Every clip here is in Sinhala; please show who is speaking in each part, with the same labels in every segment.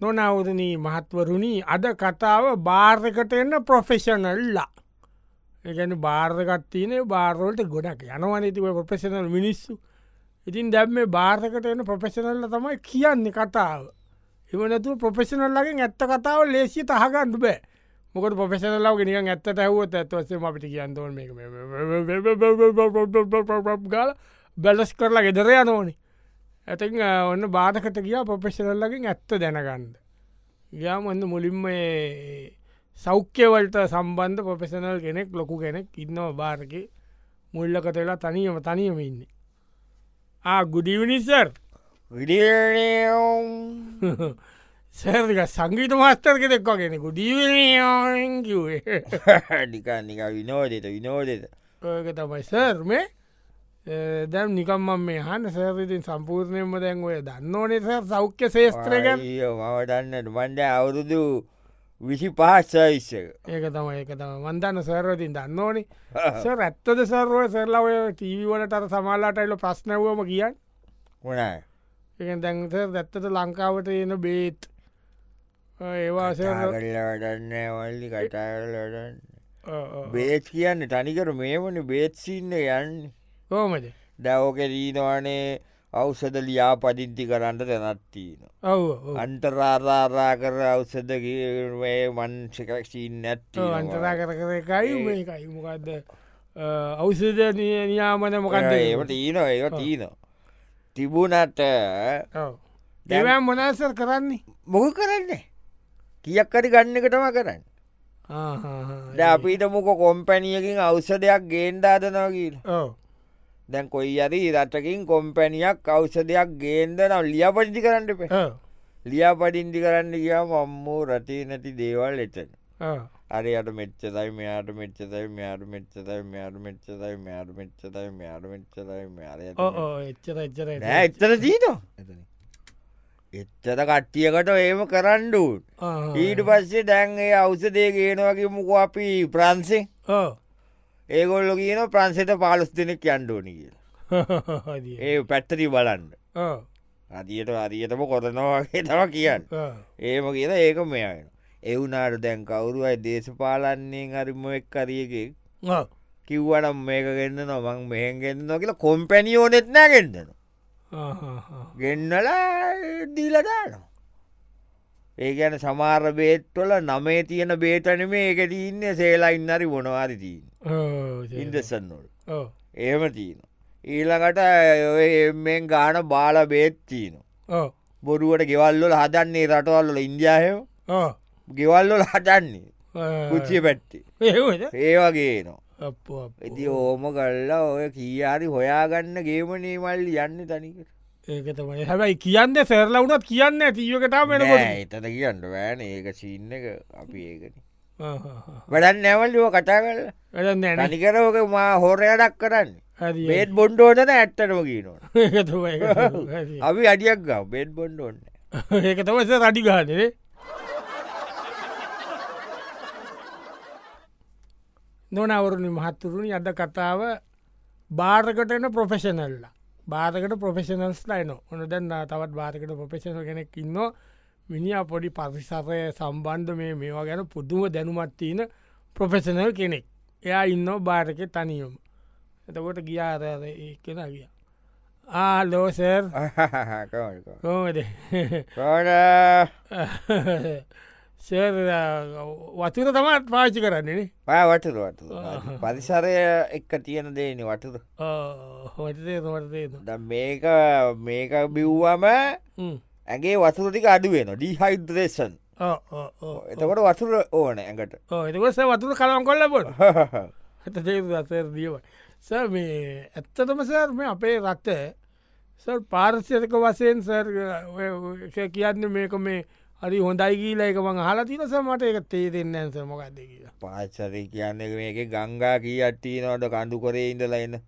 Speaker 1: නොනවරණී මහත්වරුණි අද කතාව භාර්ධකට එන්න ප්‍රොෆෙෂනල්ලා එකන භාර්ධකත්තියන භාරෝලට ගොඩක් යනවනතිව ප්‍රොෆෙෂනල් මිනිස්සු ඉතින් දැම් මේ භාර්ධකට එන්න ප්‍රොෆෙෂනල්ල තමයි කියන්නේ කතාව එවනතු ප්‍රොෆෙෂනල්ලගෙන් ඇත්ත කතාව ලේසිය තහගන්න බෑ මොකට පොෆෙෂනල්ලාව ගෙනක ඇත්ත ඇහුවත් ඇත්වසේ අපිට කියන්තවන් ගල බැලස් කරලා ගෙදර යනෝනි ඇති ඔන්න බාධකට කියා පොෆෙෂනල්ලකින් ඇත්ත දැනගන්ද යාම ඔන්න මුලින්ම ඒ සෞඛ්‍යවලට සම්බන්ධ පොෆෙසනල් කෙනෙක් ලොකු කෙනෙක් ඉන්නවා භාරක මුල්ලකතලා තනියම තනියම ඉන්න ආ ගුඩිවිනිසර්
Speaker 2: විඩියම්
Speaker 1: සෑරික සංගීත මස්තර්ක දෙක්වා කෙනෙකු ඩිවිනිෝන් කිවේ
Speaker 2: නිකා නිකා විනෝදෙත විනෝදෙත
Speaker 1: ඔයක තමයි සර්ම දැම් නිකම්ම මේ හන්න සෑරිතින් සම්පූර්ණයම දැන් ඔය දන්නෝනේ සර් සෞඛ්‍ය ශේස්ත්‍රක
Speaker 2: මවටන්නට මන්ඩ අවුරුදු විසි පාස්සයිස්ස
Speaker 1: ඒක තමයි ඒක තම වන්දන්න සැරවතින් දන්නෝනේ සර් ඇත්තද සර්ව සෙල්ලා ඔය ටීවලට අර සමල්ලාට එල ප්‍රශ්නවම කියන්න
Speaker 2: හොනයි
Speaker 1: එක දැන්ත ඇත්තට ලංකාවට එන බේත් ඒවා සර්
Speaker 2: කරලටන්න වල්ලි කටාලටන්න බේත් කියන්න තනිකර මේමන බේත්සින්න යන්න
Speaker 1: කෝමද
Speaker 2: දැවෝක දීනවානේ අවසද ලියා පදිින්ති කරන්න දැනත්තිීන.
Speaker 1: ඔව
Speaker 2: අන්ටරාරාරා කර අවසදගේ මන්සිකක්ෂීන් නැත්ති
Speaker 1: අන්තරා කර කර එකයි මේකයි මොකක්ද අවසද නියාමන මොකක්ද
Speaker 2: ඒට ඊන ඒ තිීන තිබුණට
Speaker 1: දෙවම් මොනසර් කරන්නේ
Speaker 2: මොහ කරන්නේ කියක්කරි ගන්නකටම කරන්න ද අපිට මොක කොම්පැනියකින් අවසදයක් ගේන්ඩාදනවකිීල
Speaker 1: ඔව
Speaker 2: දැන් කොයි අරි රටකින් කොම්පැනියක් අවසදයක් ගේන්ද නම් ලියාපටිදි කරන්න පෙ ලියාපටින්දි කරන්න කියා මම්මූ රටේ නැති දේවල් එතන අරියට මෙච්චතයි මෙයාට මෙච්චතයි මෙයාට මෙච්චතයි මෙයාට මෙච්චතයි මෙයාට මෙච්චතයි මෙයාට මෙච්චතයි මෙයාර
Speaker 1: එච්චර එච්චර
Speaker 2: එත්තර දීනවා එච්චත කට්ටියකට ඒම කරණ්ඩු ඊට පස්සේ දැන් ඒ අවසදේ ගේනවගේ මුක අපි ප්‍රන්සේ ඒගොල්ල කියන ප්‍රන්සට පාලස් දෙනෙක් යන්ඩෝනි කියලා ඒ පැත්තරි බලන්න අදියට අරියටම කොරනවාගේ තම කියන්න ඒම කියන ඒක මෙයන එවුනාට දැන් කවුරුවයි දේශපාලන්නේ අරිම එක් අරියකෙක් කිව්වනම් මේක ගන්න නොමං මෙහෙන් ගෙන්න්න කියලා කොම්පැනිියෝනෙත් නෑ ගෙන්දන ගෙන්නලා දීලදාන ඒ ගැන සමාර බේට්වල නමේ තියෙන බේටන මේ එකට ඉන්න සේලා ඉන්නරි මොනවාරි තිීන් ඉන්දසන්නොල් ඒම තියන ඊළඟට එෙන් ගාන බාල බේත්තිීන බොරුවට ගෙවල්ලොල හදන්නේ රටවල්ල ඉන්දයාහය ගෙවල්ලොල හටන්නේ පුච්චිය පැට්ටි ඒවගේ නවා ඇති ඕම කල්ලා ඔය කියාරි හොයාගන්න ගේමනේ මල්ලි යන්න තනිකට
Speaker 1: ඒකතමයි හැබයි කියන්න සෙරලා වුණත් කියන්න ඇතිවකටා වෙනකොට
Speaker 2: එතත කියන්න වෑන ඒක සින්න එක අපි ඒකන වැඩන් නැවල්ලිව කතා කල
Speaker 1: වැඩන්න ඇන
Speaker 2: නනිකරෝක මා හොරයටක් කරන්න
Speaker 1: හරි
Speaker 2: බේත් බොන්්ඩෝටන ඇත්තටම කියනවා
Speaker 1: ඒකතම ඒක
Speaker 2: අපි අඩියක් ගව බෙඩ් බොන්්ඩ ඔන්න
Speaker 1: ඒක තමස රඩි ගානේ නොනවරුණි මහත්තුරුණි අද කතාව භාරකටන ප්‍රොෆෙෂනල්ලා භාරකට ප්‍රොෆෙෂනල්ස් ලයින ඔොන දැන්න තවත් භාරකට ප්‍රොෆෙෂනල් කෙනෙක් ඉන්න මිනිා පොඩි පරිසරය සම්බන්ධ මේ මේවා ගැන පුදුම දැනුමත්තින ප්‍රොෆෙෂනල් කෙනෙක් එයා ඉන්න භාරක තනියම එතකොට ගියාරර කෙන ගිය ආලෝසර් කෝමද
Speaker 2: කෝඩ
Speaker 1: සර් වතුර තමත් පාචි කරන්නේනේ
Speaker 2: පය වටුරු වටු පරිසරය එක්ක තියෙන දේනි වටුරු
Speaker 1: හොටදේ නොවටදේද
Speaker 2: ද මේක මේක බිව්වම ඇගේ වතුරටික අඩුවෙන ඩිහයිදරේෂන් එතකොට වතුර ඕන ඇඟට
Speaker 1: එතකොස වතුර කලම් කොල්ල බොට හත සර් දියව ස මේ ඇත්තටම සර් මේ අපේ රට සර් පාර්ශයක වසයෙන් සර් ඔය කියන්න මේක මේ හරි හොඳයි ගීලා එක මං හලතිනස මට එක තේරෙන්න ඇස මොකක්ද කියලා
Speaker 2: පාචරය කියන්න මේක ගංගා කිය අට්ටී නොට කණ්ඩු කරේ ඉඳලයින්න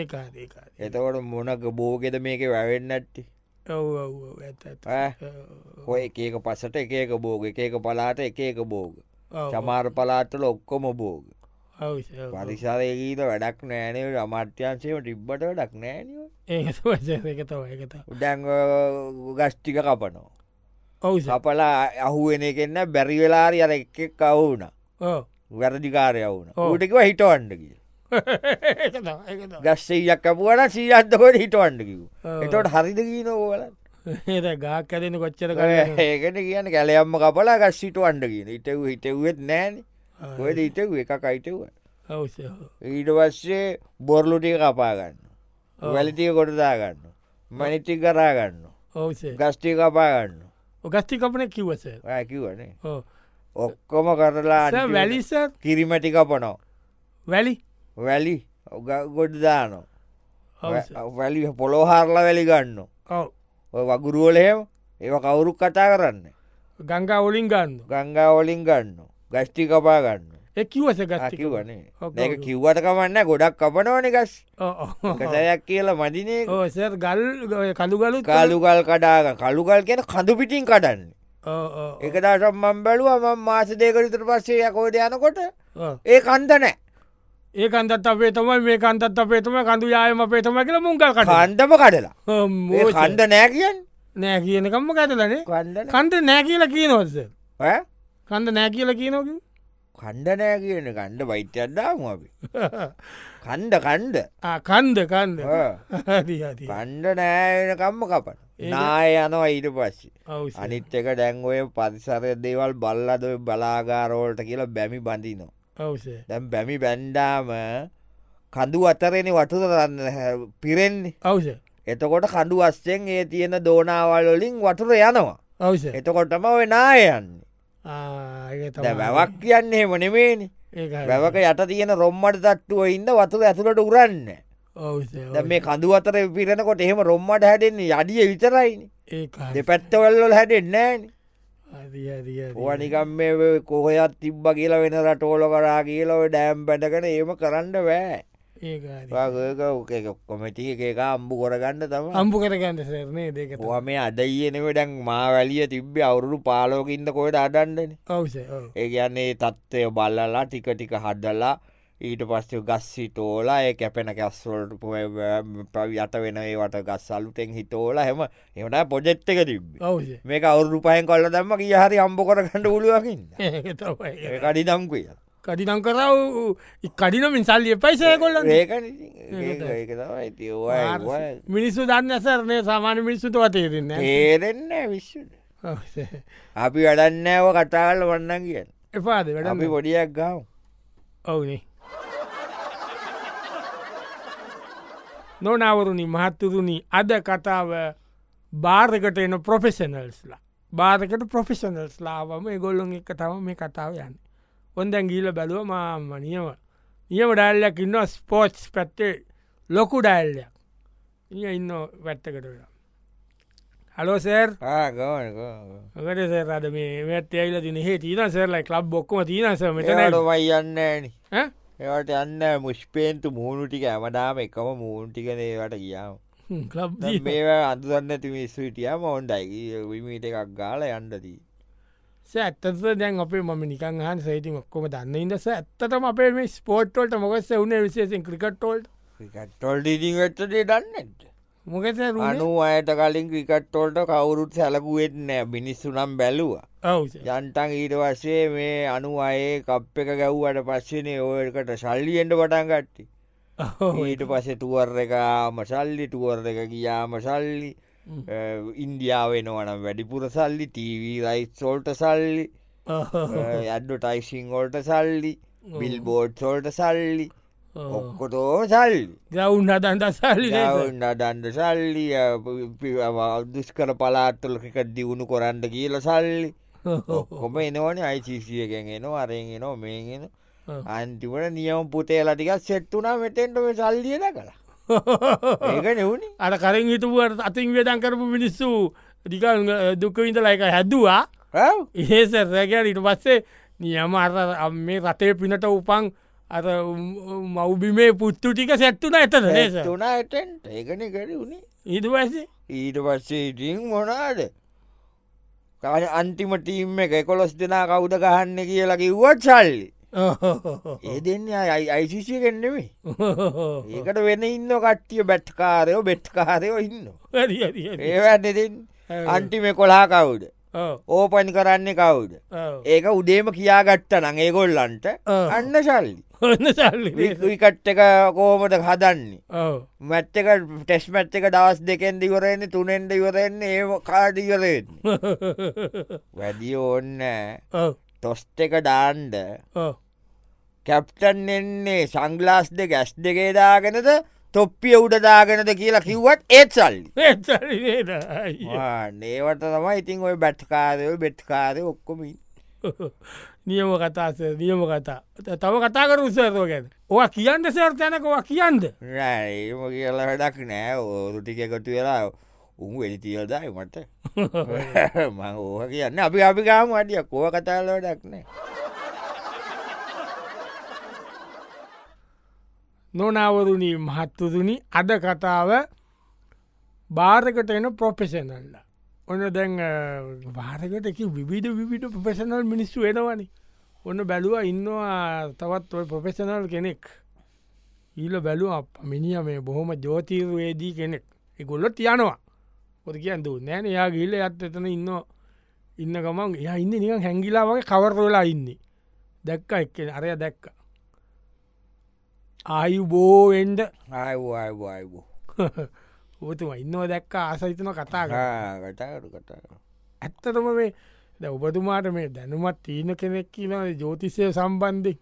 Speaker 1: ඒකා ඒකා
Speaker 2: එතකොට මොනක බෝගෙද මේක වැවෙන්නට්ටි
Speaker 1: ඔව් ඔව් ඔව් ඇත්ත ඇත්ත
Speaker 2: ඈ?
Speaker 1: ඔව්
Speaker 2: හොය එකක පසට එකක බෝග එකක පලාට එකක බෝග
Speaker 1: ඔව්
Speaker 2: සමාර පලාටල ඔක්කොම බෝග
Speaker 1: ඔව් සර්.
Speaker 2: පරිසාරයකීට වැඩක් නෑනේ අමාත්‍යන්සේම ටිබ්බට වැඩක් නෑන
Speaker 1: Eh, ඒක තමයි සර්, ඒක තව එකත
Speaker 2: උඩැන් ගස්්ටික කපනෝ
Speaker 1: ඔවුස
Speaker 2: සපලා අහුවෙන එකන්න බැරි වෙලාරි අර එක් කවුන
Speaker 1: ඕ
Speaker 2: වැරදිකාරය වුන
Speaker 1: ඔව්.
Speaker 2: ඌටකිව හිටවන්ඩකි
Speaker 1: ඒක තමයි, ඒක තමයි.
Speaker 2: ගස්සීයක්කපුුවන සීජත්තකොට හිටවන්ඩකිව
Speaker 1: ඔව්.
Speaker 2: එතොට හරිද කියීනකෝවල
Speaker 1: ඒක ගාක් ඇදෙන කොච්චර
Speaker 2: Eh.
Speaker 1: කර
Speaker 2: ඒකට කියන කැලයම්ම කපලා ගස් හිටවන්ඩ කියන ඉටව හිටවුවත් නෑන
Speaker 1: ආ.
Speaker 2: ඔයද හිටව එක අයිටව
Speaker 1: ඔවුස
Speaker 2: ඊට පස්සේ බොර්ලුටිය කපාගන්න වැලිටිය කොටදාගන්න මනිටි කරාගන්න
Speaker 1: ඔවුසේ
Speaker 2: ගස්ටි කපාගන්න
Speaker 1: ඔගස්ටි කපන කිවස
Speaker 2: ඇකිවනේ
Speaker 1: Oh.
Speaker 2: ඔක්කොම කරලා අන්තිමට
Speaker 1: වැලිස
Speaker 2: කිරිමටි කපනෝ
Speaker 1: වැලි
Speaker 2: වැලි ගොඩ් දානෝ
Speaker 1: ඔව්
Speaker 2: වැලි පොළොහාරලා වැලි ගන්න
Speaker 1: ඔව්.
Speaker 2: ඔය වගුරුවලහෙම ඒව කවුරු කතා කරන්න
Speaker 1: ගංගා ඔලින් ගන්න
Speaker 2: ගංගා ඔලින් ගන්න ගස්ටි කපා ගන්න
Speaker 1: එකිවස
Speaker 2: Ah,
Speaker 1: ගස්ටි
Speaker 2: කිවනේ
Speaker 1: ඔක්කොම
Speaker 2: ඒක
Speaker 1: කිව්වා.
Speaker 2: කිව්වට කමන්න ගොඩක් කපනවන ගස්
Speaker 1: Oh,
Speaker 2: කටයක් කියලා මදිනේ
Speaker 1: ඕස ගල් කඳුගලු
Speaker 2: කාලුගල් කඩාග කළුගල් කියන කඳු පිටින් කඩන්න
Speaker 1: Oh,
Speaker 2: එකදාට මම් බැලුව ම මාස දෙකරිතර පස්සේ යකෝට යනකොට
Speaker 1: oh.
Speaker 2: ඒ කන්ද නෑ
Speaker 1: ඒ කන්දත් අපේ තමයි මේ කන්තත් අපේ තමයි කඳු යායම අපේ තමයි කියලා මුංගල් කට
Speaker 2: කන්දම කඩලා
Speaker 1: Oh,
Speaker 2: ඒ කන්ද නෑ කියන්න
Speaker 1: නෑ කියනකම්ම කඇතලනේ
Speaker 2: කන්ඩන
Speaker 1: කන්ද නෑ කියලා කිය නොස කන්ද නෑ කියලා කිය නොක
Speaker 2: කණ්ඩ නෑ කියන කණ්ඩ වෛත්‍යයක්දාම අපි කණ්ඩ කණ්ඩ
Speaker 1: කන්ද කන්ද
Speaker 2: ආ. කණ්ඩ නෑනකම්ම කපන නාය යනවා ඊට පස්සේ අනිත් එක ඩැංගෝය පරිසරය දේවල් බල්ලද ඔය බලාගාරෝල්ට කියලා බැමි බඳිනවා
Speaker 1: ඔවසේ
Speaker 2: දැම් බැමි බැන්්ඩාම කඳු අතරෙන වටු දන්න පිරෙන්නේ
Speaker 1: ඔවස
Speaker 2: එතකොට කඩු අස්සෙන් ඒ තියෙන දෝනාවල්ලින් වටුර යනවා
Speaker 1: ඔවස
Speaker 2: එතකොටම ඔය නායයන්න වැවක් කියන්නේ මනෙමේනි වැවක යට තියෙන රොම්මට තට්ටුව ඉන්න වතුර ඇතුළට උරන්න ද මේ කඳු අතර පිරෙනකොට එහෙම රොම්මට හැඩෙන්නේ අඩිය විතරයිනි දෙපැත්තවල්ලොල් හැඩෙන්නෑන ඕනිකම් මේ කොහොයත් තිබ්බ කියලා වෙන රටෝල කරා කියලව ඩෑම් පැටකන ඒම කරන්න වෑ කොමති එක අම්බු කොරගන්න තම
Speaker 1: අම්පු කරගන්න සරනේ දෙක
Speaker 2: පුහ මේ අදයිනෙම ඩැන් මා වැලිය තිබ්බේ අවුරු පාලෝකින්ද කොයට අඩන්ඩන
Speaker 1: ඔවස
Speaker 2: ඒ කියන්නේ තත්ත්වය බල්ලලා ටික ටික හඩලා ඊට පස්ස ගස්සි තෝලා ඒ කැපෙන කැස්වල්ට යට වෙන ඒවට ගස් අලුතෙන් හිතෝලා හෙම එමට පොජෙට් එක තිබ්බ
Speaker 1: ඔවස
Speaker 2: මේක අවුරුපායෙන් කොල්ල දම්ම කිය හරි අම්බ කොරගන්න පුළුවකින්න කඩි දම්කය
Speaker 1: කඩිනම් කරව කඩිනමින් සල්ලිය පයිසය කොල්ලන්න
Speaker 2: ඒක ඒක තමයි තිවා
Speaker 1: මිනිස්සු දන්න ඇසරනේ සාමාන මිනිස්සුතු වතේරන්න
Speaker 2: ඒරෙන්න විශ්ව අපි වැඩන්නෑව කටාල වන්න කියන්න
Speaker 1: එපාද වැඩම
Speaker 2: අපි පොඩියක් ගාව
Speaker 1: ඔවුනේ නොනවරුණි මහත්තුරුණි අද කතාව භාර්කට එන ප්‍රොෆෙසනල්ස්ලා භාරකට ප්‍රොෆෙසනල්ස්ලාවම ගොල්ලොන් එක තම මේ කතාව යන්න ඔොන්දැන් ගීල බැලුව මාම නියම නියම ඩැල්ලයක් ඉන්න ස්පෝට්ස් පැත්තේ ලොකු ඩැල්ලයක් ඉ ඉන්න වැත්තකට වෙලා හලෝසර්
Speaker 2: ආගමනක
Speaker 1: අකට සරද මේ වැත්තඇයිල දින හේ තීන සෙරලයි ලබ් බොක්කම තිීනසම
Speaker 2: මෙතනටමයි යන්නන ඒවට යන්න මුෂ්පේන්තු මූුණු ටික ඇමඩාම එකම මූුන් ටිකනේවට කියාව
Speaker 1: ලබ්
Speaker 2: මේ අඳුරන්න තිමිස්සු හිටියම ඔොන්ඩයි විමීට එකක් ගාල යන්ඩදී
Speaker 1: ඇත්තස දැන් අපේ මම නිකන් හන් සේති ඔක්කොම දන්න ඉදස ඇත්තටම අපේ මේ ස්පෝට්ටොල්ට මොකස් වුණේ විශේෂෙන් ක්‍රිකට්ටෝල්ට
Speaker 2: ටොල් ඩිඩිවෙත්තේ දන්නට
Speaker 1: මොකද
Speaker 2: අනු අයට කලින් ක්‍රිකට්ටොල්ට කවුරුත් සැලකුවෙත් නෑ මිනිස්සු නම් බැලුව
Speaker 1: ඔවස
Speaker 2: යන්ටන් ඊට වස්සේ මේ අනු අයේ කප් එක ගැව්වට පස්සනේ ඕයකට සල්ලියෙන්ට පටන් ගට්ටි ඊට පස ටුවර් එක මසල්ලි ටුවර් එක ගියාම සල්ලි
Speaker 1: හ්ම්.
Speaker 2: ඉන්දියාවෙනවනම් වැඩිපුර සල්ලි ටීවී රයිස්ෝල්ට සල්ලි ඇඩ්ඩු ටයිසිංෝල්ට සල්ලි බිල් බෝඩ් සෝල්ට සල්ලි ඔක්කොටෝ සල්ලි
Speaker 1: ගවුන් හදන්ට සල්ලි
Speaker 2: ඩන්ඩ සල්ලි දුස් කර පලාත්තුල එක දියුණු කොරන්න කියල සල්ලි කොම එනවන අයිසිසියකෙන් එන අරෙන් එනෝ මේගෙන අන්තිමට නියම පුතේලටිකක් සෙට්ටුනා මෙතෙන්ට මේ සල්ලියන කළ ඒක නෙවුණේ
Speaker 1: අර කරින් හිතුුවට අතින් වෙදන් කරපු මිනිස්සු ඩිකල් දුක්කවිඳලා එක හැදවා
Speaker 2: ඔව්.
Speaker 1: ඒස රැකැ ඉට පස්සේ නියම අර මේ රටේ පිනට උපන් අර මව්බිමේ පුත්තු ටික සැත්තුන ඇතද නේස
Speaker 2: තුනා එටෙන්ට ඒකන කර වුණේ
Speaker 1: ඊට පස්සේ
Speaker 2: ඊට පස්සේ ඉටිං මොනාද කාන අන්තිම ටීම් එක කොලොස් දෙනා කවුද ගහන්න කියලා කිව්වත් සල්ලි ඒ දෙන්න අයි අයිසිසිය කෙන්නෙමේ ඒකට වෙන ඉන්න කට්ටිය Eh. බැට්කාරයෝ බෙට්කාරයෝ ඉන්න ඒවැන්න දෙන්න අන්ටිම කොලා කවුද
Speaker 1: Oh,
Speaker 2: ඕපන් කරන්නේ කවුද ඒක උදේම කියාගත්ත නං ඒගොල්ලන්ට
Speaker 1: ඔව්.
Speaker 2: අන්න සල්ලි
Speaker 1: ඔන්න සල්ලි
Speaker 2: විකට් එක කෝමට හදන්නේ
Speaker 1: ඔව
Speaker 2: මැත්ත එක ටෙස් මැත්ත එක දවස් දෙකෙන් දිවරෙන්නේ තුනෙන්ට ඉවරෙන්නේ ඒ කාඩිවරෙන්නේ වැඩි ඕන්න
Speaker 1: ඔව
Speaker 2: තොස්ට එක ඩාන්්ඩ
Speaker 1: ඔව
Speaker 2: කැප්ටන් එන්නේ සංගලාස් දෙ ගැස් දෙකේ දාගෙනද තොප්පිය උඩදාගෙනද කියලා කිව්වත් ඒත් සල්ලි
Speaker 1: ඒසල්ලි නේද? අයියේ.
Speaker 2: නේවට තම ඉතින් ඔය බැට්කාරය බෙට්කාරය ඔක්කොමින්
Speaker 1: නියම කතා සර්, නියම කතා ත- තව කතා කර උසරෝ ගැන ඔවා කියන්න සර් තැනකවා කියන්ද
Speaker 2: ඒම කියලා වැඩක් නෑ ඕරුටික එකතු වෙලා උන් වෙලිතිියල්දයි මට මං ඕහ කියන්න අපි අපි ගාම අටිය කෝව කතාල වැඩක් නෑ
Speaker 1: නොනවරුණී මහත්තුරුණි අද කතාව භාරකට එන ප්‍රොෆෙෂනල්ල ඔන්න දැන් භාරකට එක විවිධ විවිට ප්‍රොෆෙෂනල් මිනිස්සු වෙනවනි ඔන්න බැලුව ඉන්නවා තවත් ඔය ප්‍රොෆෙෂනල් කෙනෙක් ඊල බැලු අප මිනිිය මේ බොහොම ජෝතීර්වේදී කෙනෙක් එකොල්ලොත් යනවා පොද කියන් දූ නෑන යා ගිල්ල ඇත් එතන ඉන්න ඉන්න ගමන් එය ඉන්න නිකන් හැංගිලා වගේ කවරවෙලා ඉන්නේ දැක්ක එක් අරය දැක්ක ආයුබෝවෙන්ඩ
Speaker 2: ආයිවායිවායිබෝ
Speaker 1: ඔතුම ඉන්නව දැක්ක ආසහිතන කතා කර
Speaker 2: කටාට කටා
Speaker 1: ඇත්තටම මේ දැන් ඔබතුමාට මේ දැනුමත් තීන කෙනෙක් න ජෝතිසය සම්බන්ධය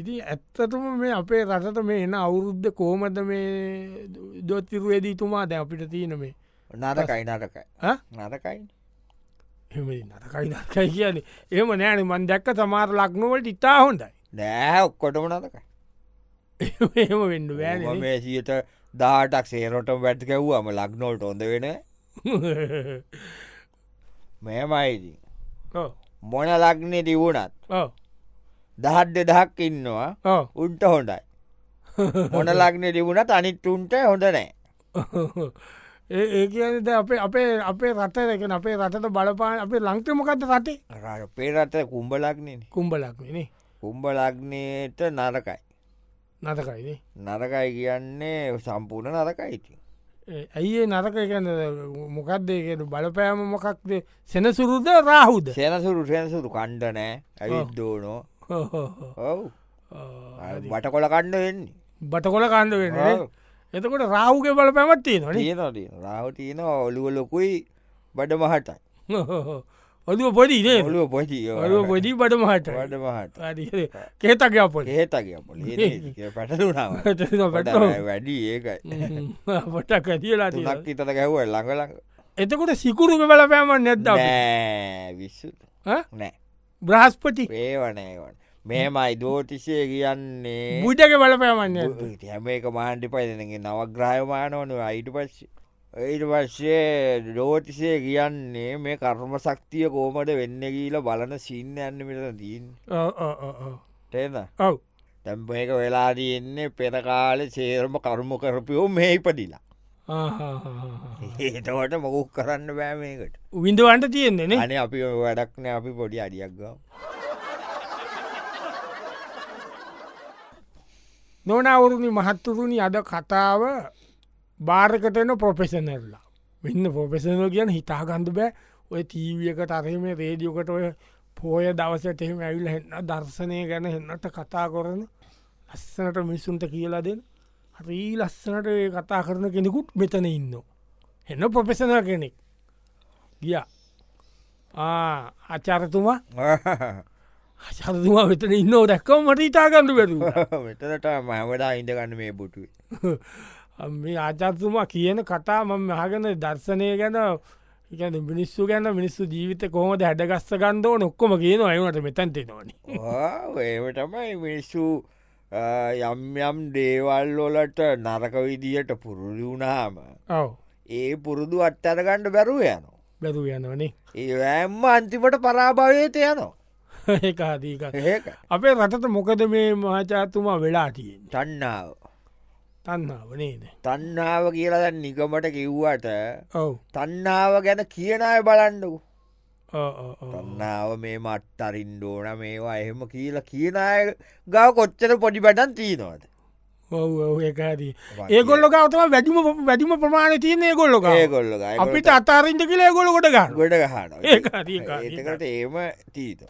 Speaker 1: ඉති ඇත්තටම මේ අපේ රටට මේ එන අවුරුද්ධ කෝමද මේ දොත්තිරුවේදී තුමා දැ අපිට තියෙන මේ
Speaker 2: නරකයි නරකයි
Speaker 1: ඈ?
Speaker 2: නරකයි
Speaker 1: එහෙම නරකයි නරකයි කියන්නේ එහම නෑන මන් දැක්ක සමාර ලක්නොවලට ඉතා හොඳයි
Speaker 2: නෑ ඔක්කොටම නරකයි
Speaker 1: එහෙම වෙන්න
Speaker 2: මම
Speaker 1: බෑන
Speaker 2: මේ සියට දාටක් සේරොට වැඩ් ගැව්වාම ලක්නොල්ට ොඳ වෙන මෙමයිදි
Speaker 1: ඕ
Speaker 2: මොන ලක්නෙ තිවුණත්
Speaker 1: ඕ
Speaker 2: දහත් දෙදහක් ඉන්නවා
Speaker 1: ඕ
Speaker 2: උන්ට හොඳයි මොන ලක්නෙ තිබුණත් අනිත් උන්ට හොඳ නෑ
Speaker 1: ඒ ඒ කියද අපේ අපේ අපේ රට එකන අපේ රටට බලපාන අපේ ලංක්‍රමකත රටේ
Speaker 2: රට පේරට කුම්ඹලක්නේ
Speaker 1: කුම්ඹලක්නේ
Speaker 2: කුම්ඹලක්නයට නරකයි
Speaker 1: නතකයිනේ
Speaker 2: නරකයි කියන්නේ සම්පූර්ණ නරකයිති
Speaker 1: ඇයිඒ නරක එකන මොකක්දේකට බලපෑම මොකක්ද සෙනසුරුද රාහුද
Speaker 2: සෙනසුරු සෙනසුරු කණ්ඩ නෑ ඇවිත් දෝනෝ
Speaker 1: හෝ හෝ හෝ.
Speaker 2: ඔව්
Speaker 1: ආ,
Speaker 2: බට කොල කණ්ඩ වෙන්නේ
Speaker 1: බටකොල කණ්ඩ වෙන නේ?
Speaker 2: ඔව්.
Speaker 1: එතකොට රාහුගේ බලපෑමත්තිය නොනේ
Speaker 2: තියනද රාවටයන ඔලුව ලොකුයි බඩ මහටයි
Speaker 1: ඔදුව පොඩි දේ
Speaker 2: ඔලුව පොචි
Speaker 1: ඔලුව පොඩි බඩ මහට
Speaker 2: බඩ මහට
Speaker 1: කේතක අපොට
Speaker 2: ඒතකපොල පැටලුණාව වැඩි ඒකයි
Speaker 1: පොටක් ඇතිලා තියෙනවා.
Speaker 2: තුනක් ඉතට ගැව්ව ළඟලඟ
Speaker 1: එතකොට සිකුරුග බලපෑම නැද්ද අපි?
Speaker 2: නෑ විස්සු
Speaker 1: ඈ?
Speaker 2: නෑ
Speaker 1: බ්‍රහස්පති
Speaker 2: ඒවනෑවන් මෙමයි දෝතිශය කියන්නේ
Speaker 1: බුඩක බලපෑමන්නේ
Speaker 2: හැම එක මාණ්ඩි පයිදනගේ නවග්‍රහයමානවනු අයිට පස්සේ ඒට පස්සේ දෝතිසය කියන්නේ මේ කර්ම සක්තිය කෝමට වෙන්න ගීල බලන සින්න යන්නමිට දීන් තේද
Speaker 1: ඔව
Speaker 2: තැම්පක වෙලාදයෙන්නේ පෙරකාල සේරම කර්ම කරපයෝ මේ ඉපදිලා ඒතවට මොකුක් කරන්න බෑමකට
Speaker 1: විින්දවන්ට තියෙන්නේ
Speaker 2: අනේ අපි ඔය වැඩක්න අපි පොඩි අඩියක් ගව
Speaker 1: නොනවුරුණි මහත්තුරුණි අද කතාව භාරකටයන පොෆෙසනල්ලා වෙන්න පොෆෙසනල් කියන හිතාගන්ඩ බෑ ඔය තීවියක තරම රේඩියෝකට ඔය පෝය දවසට එහෙම ඇවිල් හෙන්න දර්ශනය ගැන හෙන්නට කතා කරන ලස්සනට මිස්සුන්ට කියලා දෙන්න හරී ලස්සනට ඒ කතා කරන කෙනෙකුත් මෙතන ඉන්න. එන්න පොෆෙසනල් කෙනෙක් ගිය අචරතුමා අචරතුමා වෙතන ඉන්න දැක්කව මට ඉතාගන්ඩ වැරුවා.
Speaker 2: මෙතනට මහමඩා ඉඳගන්න මේ බුටුවේ
Speaker 1: මේ ආචත්තුමා කියන කතා මම හගෙන දර්ශනය ගැන ඉගැන මිනිස්සු ගැන මිනිස්සු ජීවිත කොහොමද හැඩගස්ස ගන්දෝ නොක්කොම කියන අයුනට මෙතැන්ති නොන
Speaker 2: ඒමටමයි මිනිස්සු යම්යම් දේවල්ලොලට නරක විදියට පුරුදු වුණාම
Speaker 1: ඔව
Speaker 2: ඒ පුරුදු අත්තරගණ්ඩ බැරුව යන
Speaker 1: බැදු යනවනේ
Speaker 2: ඒඇම්ම අන්තිමට පරාභවයට යනෝ
Speaker 1: ඒකාදීක
Speaker 2: ඒක
Speaker 1: අපේ රටට මොකද මේ මහාචාත්තුමා වෙලා තියෙන්නේ
Speaker 2: තන්නාව
Speaker 1: තන්නාව නේද
Speaker 2: තන්නාව කියලා දැන් නිකමට කිව්වට
Speaker 1: ඔව්
Speaker 2: තන්නාව ගැන කියන අය බලන්නකු
Speaker 1: ඔව්, ඔව්, ඔව්.
Speaker 2: තන්නාව මේ මත් අරින්ඩෝන මේවා එහෙම කියලා කියන අය ගව කොච්චර පොඩි බඩන් තිීනවාද
Speaker 1: ඔව ඒකාදී ඒගොල්ල ගවතම වැඩිම වැඩිම ප්‍රමාණ තියන ඒගොල්ලො
Speaker 2: ඒගොල්ල
Speaker 1: අපිට අතාරින්ට කියලා ඒගොල්ල කොට ගන්න
Speaker 2: ගොඩ ගහන
Speaker 1: ඒකාදී
Speaker 2: ඒකට ඒම තීත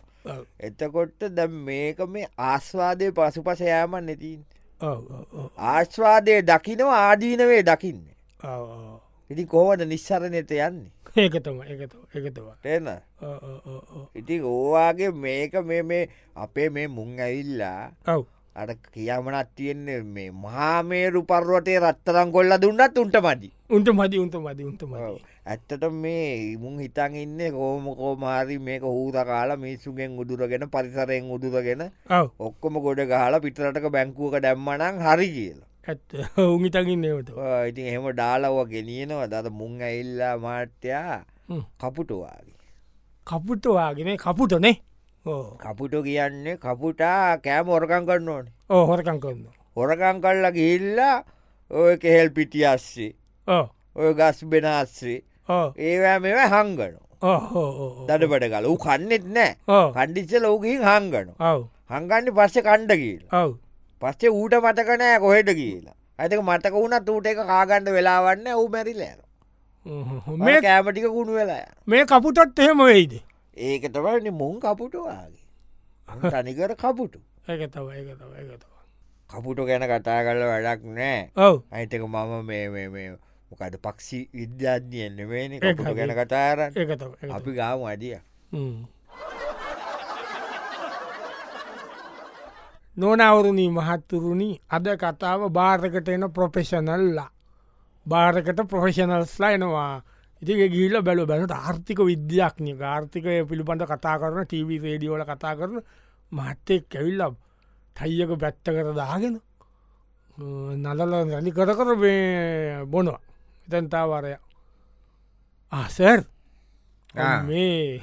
Speaker 2: එතකොට්ට ද මේක මේ ආස්වාදය පසු පස යාමන් නැතින් ආශ්වාදය දකිනව ආදීනවේ දකින්න ඉති කොහට නිස්සරණයට යන්නේ
Speaker 1: ඒකතම එකතු එකතුවා
Speaker 2: තේන ඉති ඕවාගේ මේක මේ මේ අපේ මේ මුං ඇවිල්ලා
Speaker 1: ඔව්
Speaker 2: අට කියමනත් තියෙන්නේ මේ මහාමේරු පර්වටය රත්තරං කොල්ල දුන්නත් උන්ට මදි
Speaker 1: උන්ට මදි උන්ට මදි උන්ට මදි
Speaker 2: ඇත්තට මේ මුන් හිතන් ඉන්න කෝමකෝ මාරි මේක හූත කාලා මිනිස්සුගෙන් උදුරගෙන පරිසරයෙන් උදුරගෙන
Speaker 1: ඔව්
Speaker 2: ඔක්කොම ගොඩ ගහලා පිටරටක බැංකුවක දැම්මනං හරි කියලා
Speaker 1: ඇත් උමිතකින්නවට
Speaker 2: ඔය ඉතින් එහෙම ඩාලව ගෙනියනවා දද මුං ඇඉල්ලා මාට්‍යයා
Speaker 1: හ්ම්.
Speaker 2: කපුටවාගේ
Speaker 1: කපුටවාගෙන කපුටනේ ඕ
Speaker 2: කපුට කියන්නේ කපුටා කෑම හොරකං කරන්න ඕන
Speaker 1: ඕ හොරකං කරන්න
Speaker 2: හොරකං කල්ලා ගිල්ලා ඔය කෙහෙල් පිටියස්සේ
Speaker 1: ඕ
Speaker 2: ඔය ගස් බෙනස්සේ
Speaker 1: ඕ
Speaker 2: ඒවෑ මෙව හංගනු
Speaker 1: ඕ
Speaker 2: දඩබඩ ගල වූ කන්නෙත් නෑ
Speaker 1: ඕ
Speaker 2: කණ්ඩිච්ච ලෝකින් හංගනු
Speaker 1: ඔව්
Speaker 2: හංගන්න පස්ස කණ්ඩ කියලා
Speaker 1: ඔව්
Speaker 2: පස්සේ ඌට මතකනෑ කොහෙට කියලා ඇතක මතක වුණත් ඌට එක කාගණ්ඩ වෙලාවන්න ඌ මැරිලෑන මේ
Speaker 1: මේ
Speaker 2: කෑමටික කුණු වෙලා
Speaker 1: මේ කපුටත් එහෙම වෙයිද
Speaker 2: ඒක තමයි මුං කපුටවාගේ තනිකර කපුටු
Speaker 1: ඒකතව ඒකතව ඒකතව
Speaker 2: කපුට ගැන කතා කල වැඩක් නෑ
Speaker 1: ඔව්
Speaker 2: අයිතක මම මේ- මේ මේ මොකද පක්ෂි විද්‍යාධියෙන් නෙමේනි
Speaker 1: ඒක
Speaker 2: කපුට
Speaker 1: හරි.
Speaker 2: ගැන කතාරන්න
Speaker 1: ඒකතව ඒකතව.
Speaker 2: අපි ගාම අඩිය
Speaker 1: හ්ම්. නොනවරුණී මහත්තුරුණි අද කතාව භාරකට එන ප්‍රොෆෙෂනල්ලා භාරකට ප්‍රොෆෙෂනල්ස්ලා එනවා ඉතික ගිල්ල බැලු බැලට ආර්ථික විද්‍යාඥ ආර්ථිකය පිළිබඳ කතා කරන ටීවී රේඩියෝල කතා කරන මහත්තෙක් කැවිල්ල තයියක පැත්තකට දාගෙන අ, නලල රැලි කර කර මේ බොනවා එතන්තාවරය ආසර්
Speaker 2: ආ.
Speaker 1: මේ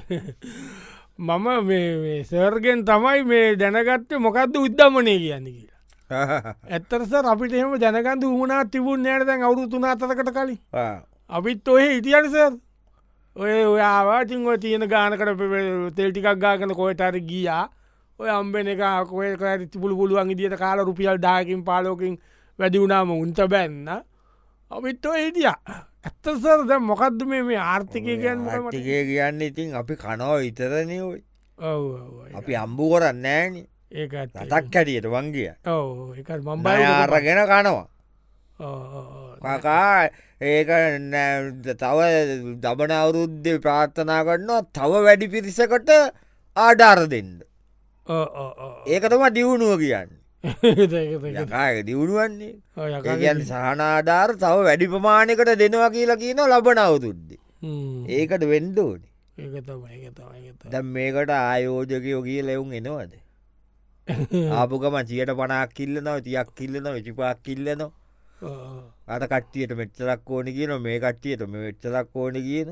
Speaker 1: මම මේ සර්ගෙන් තමයි මේ දැනගත්ත මොකක්ද උද්ධමනය කියන්න කියලා ඇත්තරස අපිට එහෙම දැනගන්ද වුණනා තිබුණ නෑට දැන් අවුරුතුන අතරකට කලින් අපිත් ඔය ඉතියනිස ඔය ඔයාවාටින් ඔය තියෙන ගානකට තෙල් ටිකක් ගාගන කොයටර ගියා ඔය අම්බෙන එක කොය ඇති තිබුල පුළුවන් ඉදිට කාල රුපියල් දායකින් පාලෝකින් වැඩි වුණාම උන්ට බැන්න අපිත් ඔය හිටිය ඇත්තසර දැ මොකක්ද මේ මේ ආර්ථිකය ගැන්න
Speaker 2: ටිකේ කියන්න ඉතින් අපි කනෝ විතරනයයි
Speaker 1: ඒ
Speaker 2: අපි අම්බු කරන්න ෑන
Speaker 1: ඇත්ත.
Speaker 2: රතක් කැටියට වංගිය
Speaker 1: ඔව් ඒක මම්බ
Speaker 2: අරගෙන කනවා කකා ඒක නෑ- තව දබන අවුරුද්ධ ප්‍රාර්ථනා කරනවා තව වැඩි පිරිසකට ආඩාර දෙන්න ඒකතම දියුණුව කියන්න යකා දියුණුවන්නේ ඒ කියන්නේ සහනාධාර තව වැඩි ප්‍රමාණයකට දෙනවා කියලා කියන ලබන අවුරුද්දේ. ඒකට වෙන්ඩෝනි ද මේකට ආයෝජකයෝ කිය ලෙවුන් එනවද ආපුකම සියට පනක් කිල්ලනව තියක් කිල්ලන වෙචිපාක් කිල්ලනවා අට කට්ටියට මෙච්චලක් ඕන කියන මේ කට්ටියට මෙ වෙච්චලක් ඕන කියන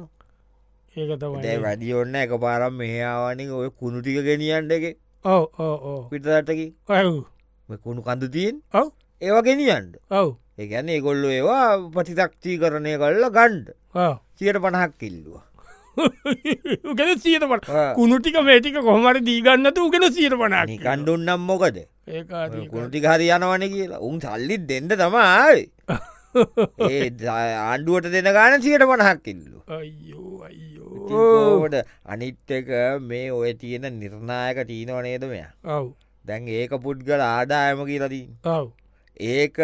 Speaker 2: දැ වැඩි ඔන්න එක පාරම් මෙහාවානික ඔය කුණුටික ගෙනියන්ට එක
Speaker 1: ඔව ඕ
Speaker 2: පිටරටකි
Speaker 1: ඔව්
Speaker 2: කුණු කඳු තියෙන්
Speaker 1: ඔව්
Speaker 2: ඒවා ගෙනියන්ට
Speaker 1: ඔව්
Speaker 2: ඒගැන ඒගොල්ලො ඒවා ප්‍රතිතක්ෂී කරණය කල්ල ගණ්ඩ
Speaker 1: ඔව්
Speaker 2: සියට පණහක් කිල්ලුව
Speaker 1: උගෙන සියතපට කුණුටික මේටික කොහමට දීගන්නතු උගෙන සියට පනාකි
Speaker 2: නිකණ්ඩුන්නම් මොකද
Speaker 1: ඒ
Speaker 2: කුණටි හරි යනවන කියලා උන් සල්ලිත් දෙන්න තමයි ඒ දා- ආණ්ඩුවට දෙන ගාන සියට පණහක් කිල්ලු
Speaker 1: අයෝ අයෝ
Speaker 2: ඕට අනිත් එක මේ ඔය තියෙන නිර්ණායක තීනවනේද මෙයා
Speaker 1: ඔව්
Speaker 2: දැන් ඒක පුද්ගල ආදායම කියලදී
Speaker 1: ඔව්
Speaker 2: ඒක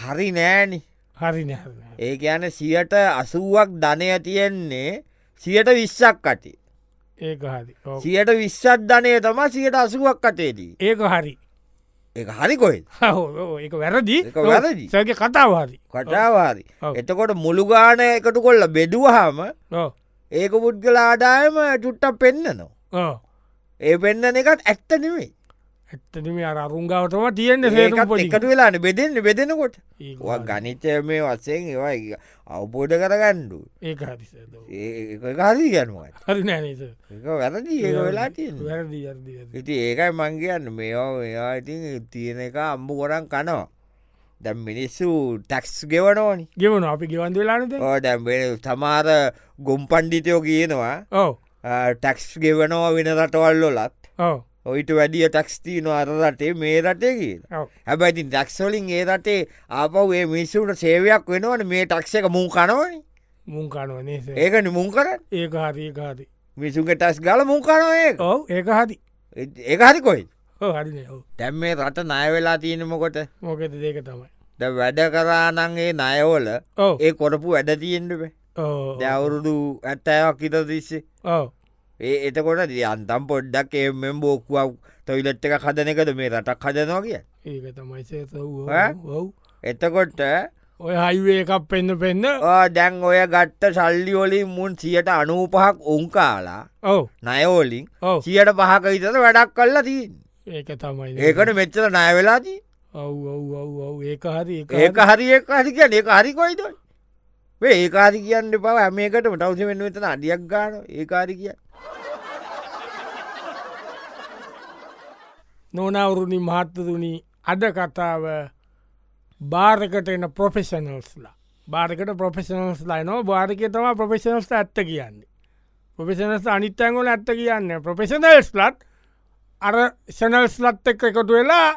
Speaker 2: හරි නෑනි
Speaker 1: හරි නැ
Speaker 2: ඒ යන සියට අසුවක් ධනය තියෙන්නේ සියට විශ්සක් කටි
Speaker 1: ඒක හරි ඔව්.
Speaker 2: සියට විශ්සත් ධනය තම සියට අසුවක් කටේදී
Speaker 1: ඒක හරි
Speaker 2: ඒ හරි කොහෙද
Speaker 1: හෝ ඒක වැරදි
Speaker 2: ඒක වැරදි.
Speaker 1: සගේ කතාව හරි
Speaker 2: කටාවාරි
Speaker 1: ඔව්.
Speaker 2: එතකොට මුළුගාන එකතු කොල්ල බෙදුවහම
Speaker 1: ඕ
Speaker 2: ඒක පුද්ගල ආදායම චුට්ටක් පෙන්න්නනවා
Speaker 1: ඕ
Speaker 2: ඒ පෙන්න්න එකත් ඇත්ත නෙවෙයි
Speaker 1: ඇත්තනම අර අරුන්ගාවටම තියෙන්න්න සේක
Speaker 2: ඒකත්
Speaker 1: පොඩි
Speaker 2: එකට වෙලාන බෙදෙන්න්න බෙදෙනකොට
Speaker 1: ඒක
Speaker 2: ඔය ගනිතය මේ වස්සයෙන් ඒවා අවබෝධ කරගණ්ඩු
Speaker 1: ඒක හරි සර්.
Speaker 2: ඒහරි ගැනුවට
Speaker 1: හරි නෑනස
Speaker 2: එක වැරදි ඒ වෙලා තියෙන
Speaker 1: වැරදි වැරදි, වැරදි.
Speaker 2: ඉති ඒකයි මංගේයන්න මේවා ඒවා ඉතින් තියෙන එක අම්බු කොරන් කනවා දැම් මිනිස්සු ටැක්ස් ගෙවනෝනි
Speaker 1: ගෙවන අපි ගෙවන්ද වෙලානද
Speaker 2: ඕඩැම් තමාර ගොම් පණ්ඩිතයෝ කියනවා
Speaker 1: ඕ
Speaker 2: ටැක්ස් ගෙවනවා වෙන රටවල්ලොලත්
Speaker 1: ඕ
Speaker 2: ඔයිට වැඩිය ටක්ස්තිීන අර රටේ මේ රටේ කියලා
Speaker 1: ඔව්.
Speaker 2: හැබැයිති ටක්ස්වලින් ඒ රටේ ආපව ඒ මිනිස්සුට සේවයක් වෙනවන මේ ටක්ස එක මුං කනවන
Speaker 1: මුං කනුවනේ
Speaker 2: ඒකන මුං කර
Speaker 1: ඒක හරි ඒක හරි
Speaker 2: මිසුන්ගේ ටස් ගල මුං කනවඒ
Speaker 1: ඔව් ඒක හරි
Speaker 2: ඒ හරි කොයි
Speaker 1: ඔව් හරිනේ ඔව්
Speaker 2: තැම් මේ රට නයවෙලා තියනමකොට
Speaker 1: මොකෙද ඒක තමයි
Speaker 2: ද වැඩ කරානන්ගේ නයවල
Speaker 1: ඔව්
Speaker 2: ඒ කොරපු වැඩ තියෙන්ටබේ
Speaker 1: ඔව්
Speaker 2: දැවුරුදු ඇත්තෑවක් හිත තිස්සේ
Speaker 1: ඔව්
Speaker 2: ඒ එතකොට අන්තම් පොඩ්ඩක් එමෙන් බෝක්කුවක් තොයිලට් එක කදනකද මේ රටක් හදනවා කිය
Speaker 1: ඒක තමයි සේත ඔව්
Speaker 2: ඈ?
Speaker 1: ඔව්
Speaker 2: එතකොට
Speaker 1: ඔය හයිවේ එකක් පෙන්න්න පෙන්න්න
Speaker 2: ආ, දැන් ඔය ගත්ත සල්ලිවොලින් මුන් සියට අනූපහක් උන්කාලා
Speaker 1: ඔව්
Speaker 2: නයෝලින්
Speaker 1: ඔව්
Speaker 2: සියට පහක විතර වැඩක් කල්ලා තින්
Speaker 1: ඒක තමයි නේ.
Speaker 2: ඒකට මෙච්චර නයවෙලාදී
Speaker 1: ඔව් ඔව් ඔව් ඔව් ඒක හරි ඒක
Speaker 2: ඒක
Speaker 1: හරි.
Speaker 2: හරි ඒක හරි කිය ඒක හරිකොයිද ඒකාරි කියන්න පව මේකට මටවස වෙන වෙතන අඩියක් ගාන ඒකාරි කිය
Speaker 1: නොනවුරුණි මහත්තතුනි අද කතාව භාරකට එන ප්‍රොෆෙෂනල්ස්ලා භාරකට ප්‍රොෆෙෂනල්ස් ලයිනෝ භාරකය තම ප්‍රොෆෙෂනල්ස් ඇත්ත කියන්නේ ප්‍රොෆෙෂනස් අනිත්තැන්ගොල ඇත්ත කියන්න ප්‍රොෆෙෂනල්ස් ලත් අර ෂනල්ස් ලත් එක් එකතු වෙලා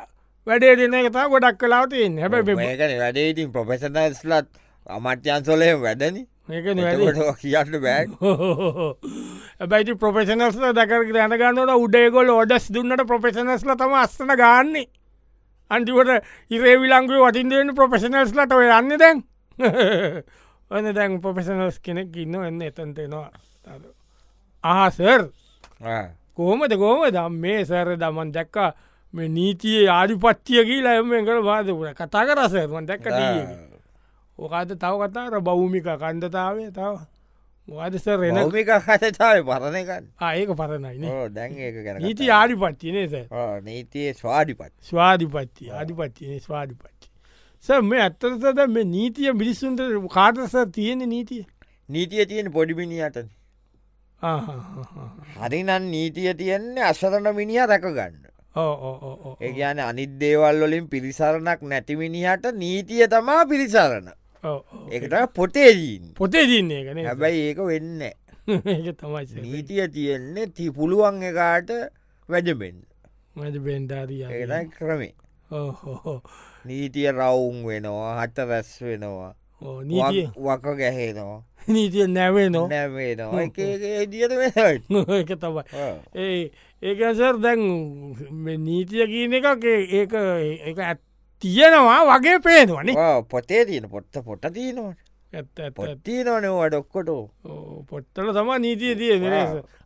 Speaker 1: වැඩේ දෙන එකතා ගොඩක් කලාවතින් හැබැ
Speaker 2: මේකන වැඩේඉතින් ප්‍රොෆෙසනස්ලත් අමත්‍යන්සොලය වැඩනි එතකොට ඔය කියන්න බෑ
Speaker 1: ඇබැයි ප්‍රොපෙෂනස්ල දැකර ග්‍රහණ ගන්නට උඩේගොල් ඔඩස් දුන්නට ප්‍රොපෙෂනස්ල තම අස්සන ගන්නේ අන්තිවට ඉරේ විලංගුව වටින්දෙන් ප්‍රොපෙෂනල්ස්ලට ඔය යන්න දැන් ඔන්න දැන් ප්‍රොපෙෂනල්ස් කෙනෙක් ඉන්න එන්න එතන්තෙනවා ආසර්
Speaker 2: ආ.
Speaker 1: කොහොමද කොහොම දම් මේ සැර දමන් දැක්ක මේ නීතියේ ආධිපත්තියකී ලයමෙන්කට වාදපුට කතා කරසර්මන් දැක්ක
Speaker 2: ah,
Speaker 1: ටීවී එකේ. ඕකාද තව කතාර බෞමික කණ්ඩතාවය තව මොකදස රෙන
Speaker 2: රෝමික කසතාව පරණ එකන්න
Speaker 1: ඒක පරණයින
Speaker 2: දැන් ඒක ගැන
Speaker 1: නීති
Speaker 2: කතා.
Speaker 1: ආඩිපත්තිනේ ස
Speaker 2: ආ, නීතියේ ස්වාඩිපත්
Speaker 1: ස්වාධිපත්ති ආධිපත්තිනේ ස්වාධිපත්ති ස මේ ඇත්තරසද මේ නීතිය මිනිස්සුන්ට කාටස තියෙන නීතිය
Speaker 2: නීතිය තියෙන පොඩිමිනිියටන හරිනම් නීතිය තියෙන්නේ අසරණ මිනිිය රැකගන්න
Speaker 1: Oh. ඕ
Speaker 2: ඒගන අනිදේවල්ලින් පිරිසරණක් නැතිමිනිහට නීතිය තමා පිරිසරණ එකට පොටේදීන්
Speaker 1: පොතේ දන්නේ කන
Speaker 2: හැබැයි ඒක වෙන්න
Speaker 1: ඒ තමයි
Speaker 2: නීතිය තියෙන්නේ ති පුළුවන් එකාට වැඩමෙන්
Speaker 1: මද බෙන්ඩාරිය
Speaker 2: ඒයි ක්‍රමේ
Speaker 1: ඕ
Speaker 2: නීතිය රවුන් වෙනවා හට රැස් වෙනවා
Speaker 1: නීතිය
Speaker 2: වක්- වක ගැහෙනවා
Speaker 1: නීතිය නැවේ
Speaker 2: නැවෙනවා එකඒ දිියද වෙනට
Speaker 1: නො ඒක තමයි ඒ ඒකසර් දැන් මේ නීතිය කියන එක ඒ ඒ ඇත් තියෙනවා වගේ පේනවනේ
Speaker 2: පොතේ තියෙන පොට්ට පොට තියනවට
Speaker 1: ඇත් ඇත් ඇත්.
Speaker 2: පොත්තිී නොනවට ඔක්කොට
Speaker 1: ඕ, පොත්තල තම නීතිය තිය
Speaker 2: ආ.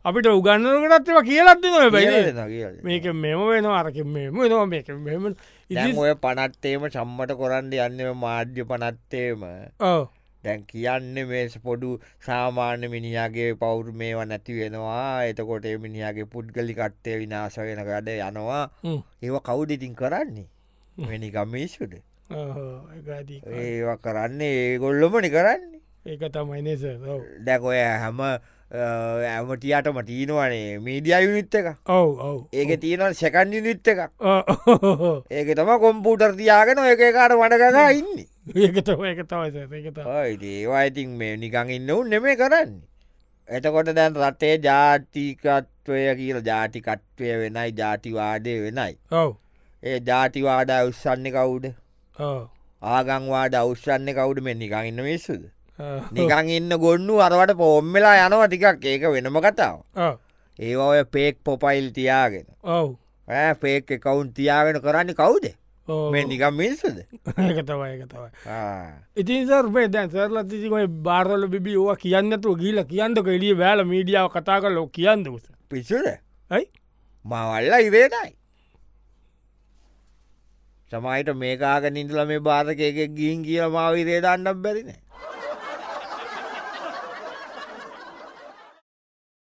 Speaker 1: අපිට උගන්නකටත්ව කියලත් නො බැයි
Speaker 2: ඔය
Speaker 1: මේක මෙම වෙන අරක මෙම නවා මේක මෙම ඉ
Speaker 2: පනත්තේම සම්මට කොරන්න යන්න මාධ්‍ය පනත්තේම දැන් කියන්න මේස පොඩු සාමාන්‍ය මිනිියගේ පවුරු මේවා නැති වෙනවා එතකොට ඒ මිනිියගේ පුද්ගලි කට්ටය විනාශ වෙන ගඩ යනවා ඒව කවුඩිතින් කරන්නේ වැනිගමේසුට ඒවා කරන්නේ ඒගොල්ලොමනි කරන්නේ
Speaker 1: ඒක තමයි නෙස
Speaker 2: දැකොය හැම ඇමටියටම තිීනවනේ මීඩිය යුනිත් එක
Speaker 1: ඔව ඔව
Speaker 2: ඒක තියෙනව සැකන්ඩි නිත් එක ඒක තම කොම්පූටර් තියාගෙන ඔය එකකාට වඩගගා ඉන්නේ
Speaker 1: ඒකතම එක තමයි ඒක
Speaker 2: ඔයි ඒවා ඉතින් මේ නිකං ඉන්න උන් නෙමේ කරන්න එතකොට දැන් රටේ ජාතිකත්වය කියල ජාටිකට්වය වෙනයි ජාතිවාදය වෙනයි
Speaker 1: ඔව
Speaker 2: ඒ ජාතිවාඩ අවස්සන්න කවුඩ
Speaker 1: ඔව
Speaker 2: ආගංවාඩ අවස්සන්න කවුඩ මෙ නිකං ඉන්න මිස්සුද නිකං ඉන්න ගොන්නු අරවට පොම්වෙලා යනවා ටිකක් ඒක වෙනම කතාව ඒවා ඔය පේක් පොපයිල් තියාගෙන
Speaker 1: ඔව
Speaker 2: ඈ පේක් එකවුන් තියාගෙන කරන්න කවුද
Speaker 1: ඔව
Speaker 2: මේ නිකම් මිනිස්සුද
Speaker 1: ඒක තමයි ඒක තමයි
Speaker 2: ආ.
Speaker 1: ඉතින් සර්පේ දැන් සරල තිසිකයි බාරල බිබි ඕවා කියන්නතු ගීල කියන්නක එලිය බෑල මීඩියාව කතා කරලෝ කියන්නකුස
Speaker 2: පිසුර
Speaker 1: ඇයි
Speaker 2: මවල්ල ඉවේටයි සමයිට මේකාග නින්දල මේ බාධකයක ගින් කියල මාව ඉරේ දන්නම් බැරින